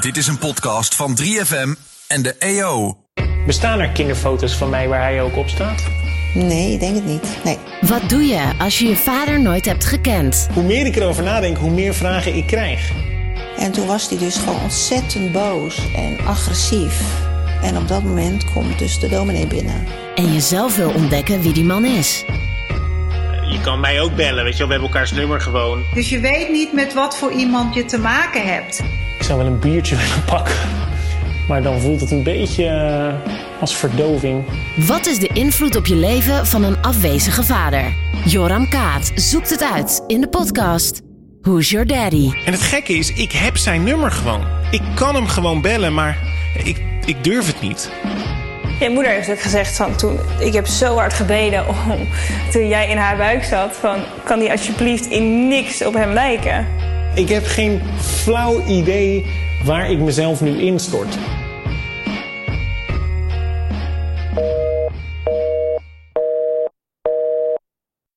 Dit is een podcast van 3FM en de E EO. Bestaan er kinderfoto's van mij waar hij ook op staat? Nee, ik denk het niet. Nee. Wat doe je als je je vader nooit hebt gekend? Hoe meer ik erover nadenk, hoe meer vragen ik krijg. En toen was hij dus gewoon ontzettend boos en agressief. En op dat moment komt dus de dominee binnen. En jezelf wil ontdekken wie die man is. Je kan mij ook bellen, weet je wel. We hebben elkaars nummer gewoon. Dus je weet niet met wat voor iemand je te maken hebt. Ik zou wel een biertje willen pakken. Maar dan voelt het een beetje eh, als verdoving. Wat is de invloed op je leven van een afwezige vader? Joram Kaat zoekt het uit in de podcast Who's Your Daddy? En het gekke is, ik heb zijn nummer gewoon. Ik kan hem gewoon bellen, maar ik, ik durf het niet. Je moeder heeft ook gezegd van toen, ik heb zo hard gebeden om, toen jij in haar buik zat, van kan die alsjeblieft in niks op hem lijken. Ik heb geen flauw idee waar ik mezelf nu instort.